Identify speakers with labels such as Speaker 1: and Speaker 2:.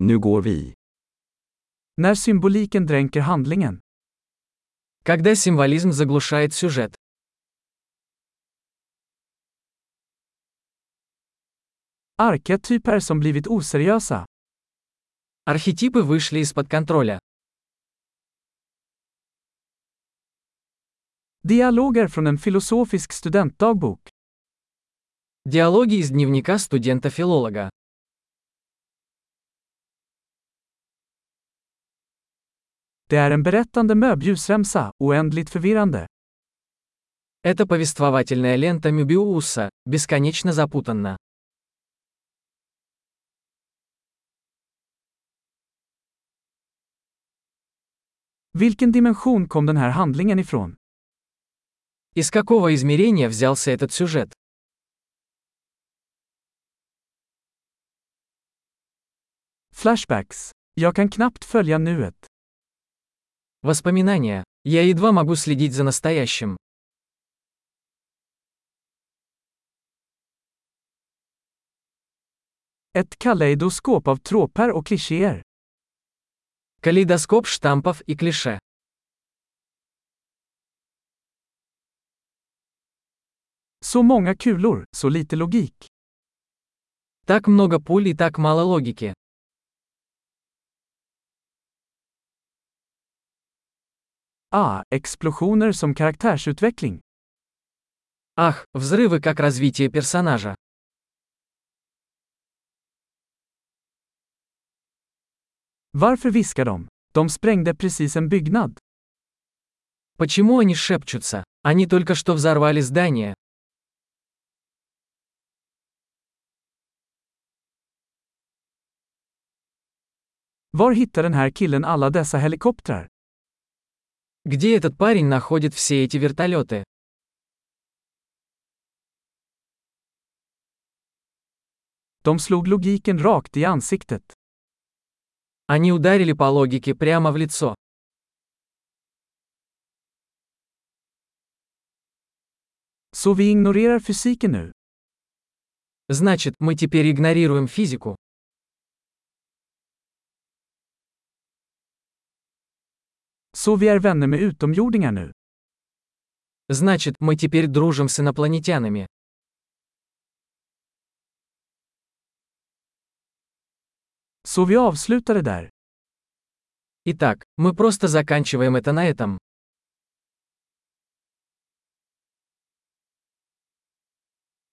Speaker 1: Nu går vi.
Speaker 2: När symboliken dränker handlingen.
Speaker 3: Когда символизм заглушает сюжет.
Speaker 2: Arketyper som blivit oseriösa.
Speaker 3: Архетипы вышли из-под контроля.
Speaker 2: Dialoger från en filosofisk studentdagbok.
Speaker 3: Диалоги из дневника студента-филолога.
Speaker 2: Det är en berättande möbljusremsa, oändligt förvirrande.
Speaker 3: Это повествовательная лента Мюбиуса, бесконечно запутанна.
Speaker 2: Vilken dimension kom den här handlingen ifrån?
Speaker 3: Из какого измерения взялся этот сюжет?
Speaker 2: Flashbacks. Jag kan knappt följa nuet.
Speaker 3: Воспоминания. Я едва могу следить за настоящим.
Speaker 2: Ett kaleidoskop av tråpar och klichéer.
Speaker 3: Калейдоскоп штампов и клише.
Speaker 2: Så många kulor, så lite logik.
Speaker 3: Так много пуль и так мало логики.
Speaker 2: Ah, explosioner som karaktärsutveckling.
Speaker 3: Ах, взрывы как развитие персонажа.
Speaker 2: Varför viskar de? De sprängde precis en byggnad.
Speaker 3: Почему они шепчутся? Они только что взорвали здание.
Speaker 2: Var hittar den här killen alla dessa helikoptrar?
Speaker 3: Где этот парень находит все эти вертолеты?
Speaker 2: De slog logiken rakt i ansiktet.
Speaker 3: Они ударили по логике прямо в лицо.
Speaker 2: Så vi ignorerar fysiken nu.
Speaker 3: Значит, мы теперь игнорируем физику.
Speaker 2: Så vi är vänner med utomjordingar nu.
Speaker 3: Значит, мы теперь дружим с инопланетянами.
Speaker 2: Så vi avslutar det där.
Speaker 3: Итак, мы просто заканчиваем это на этом.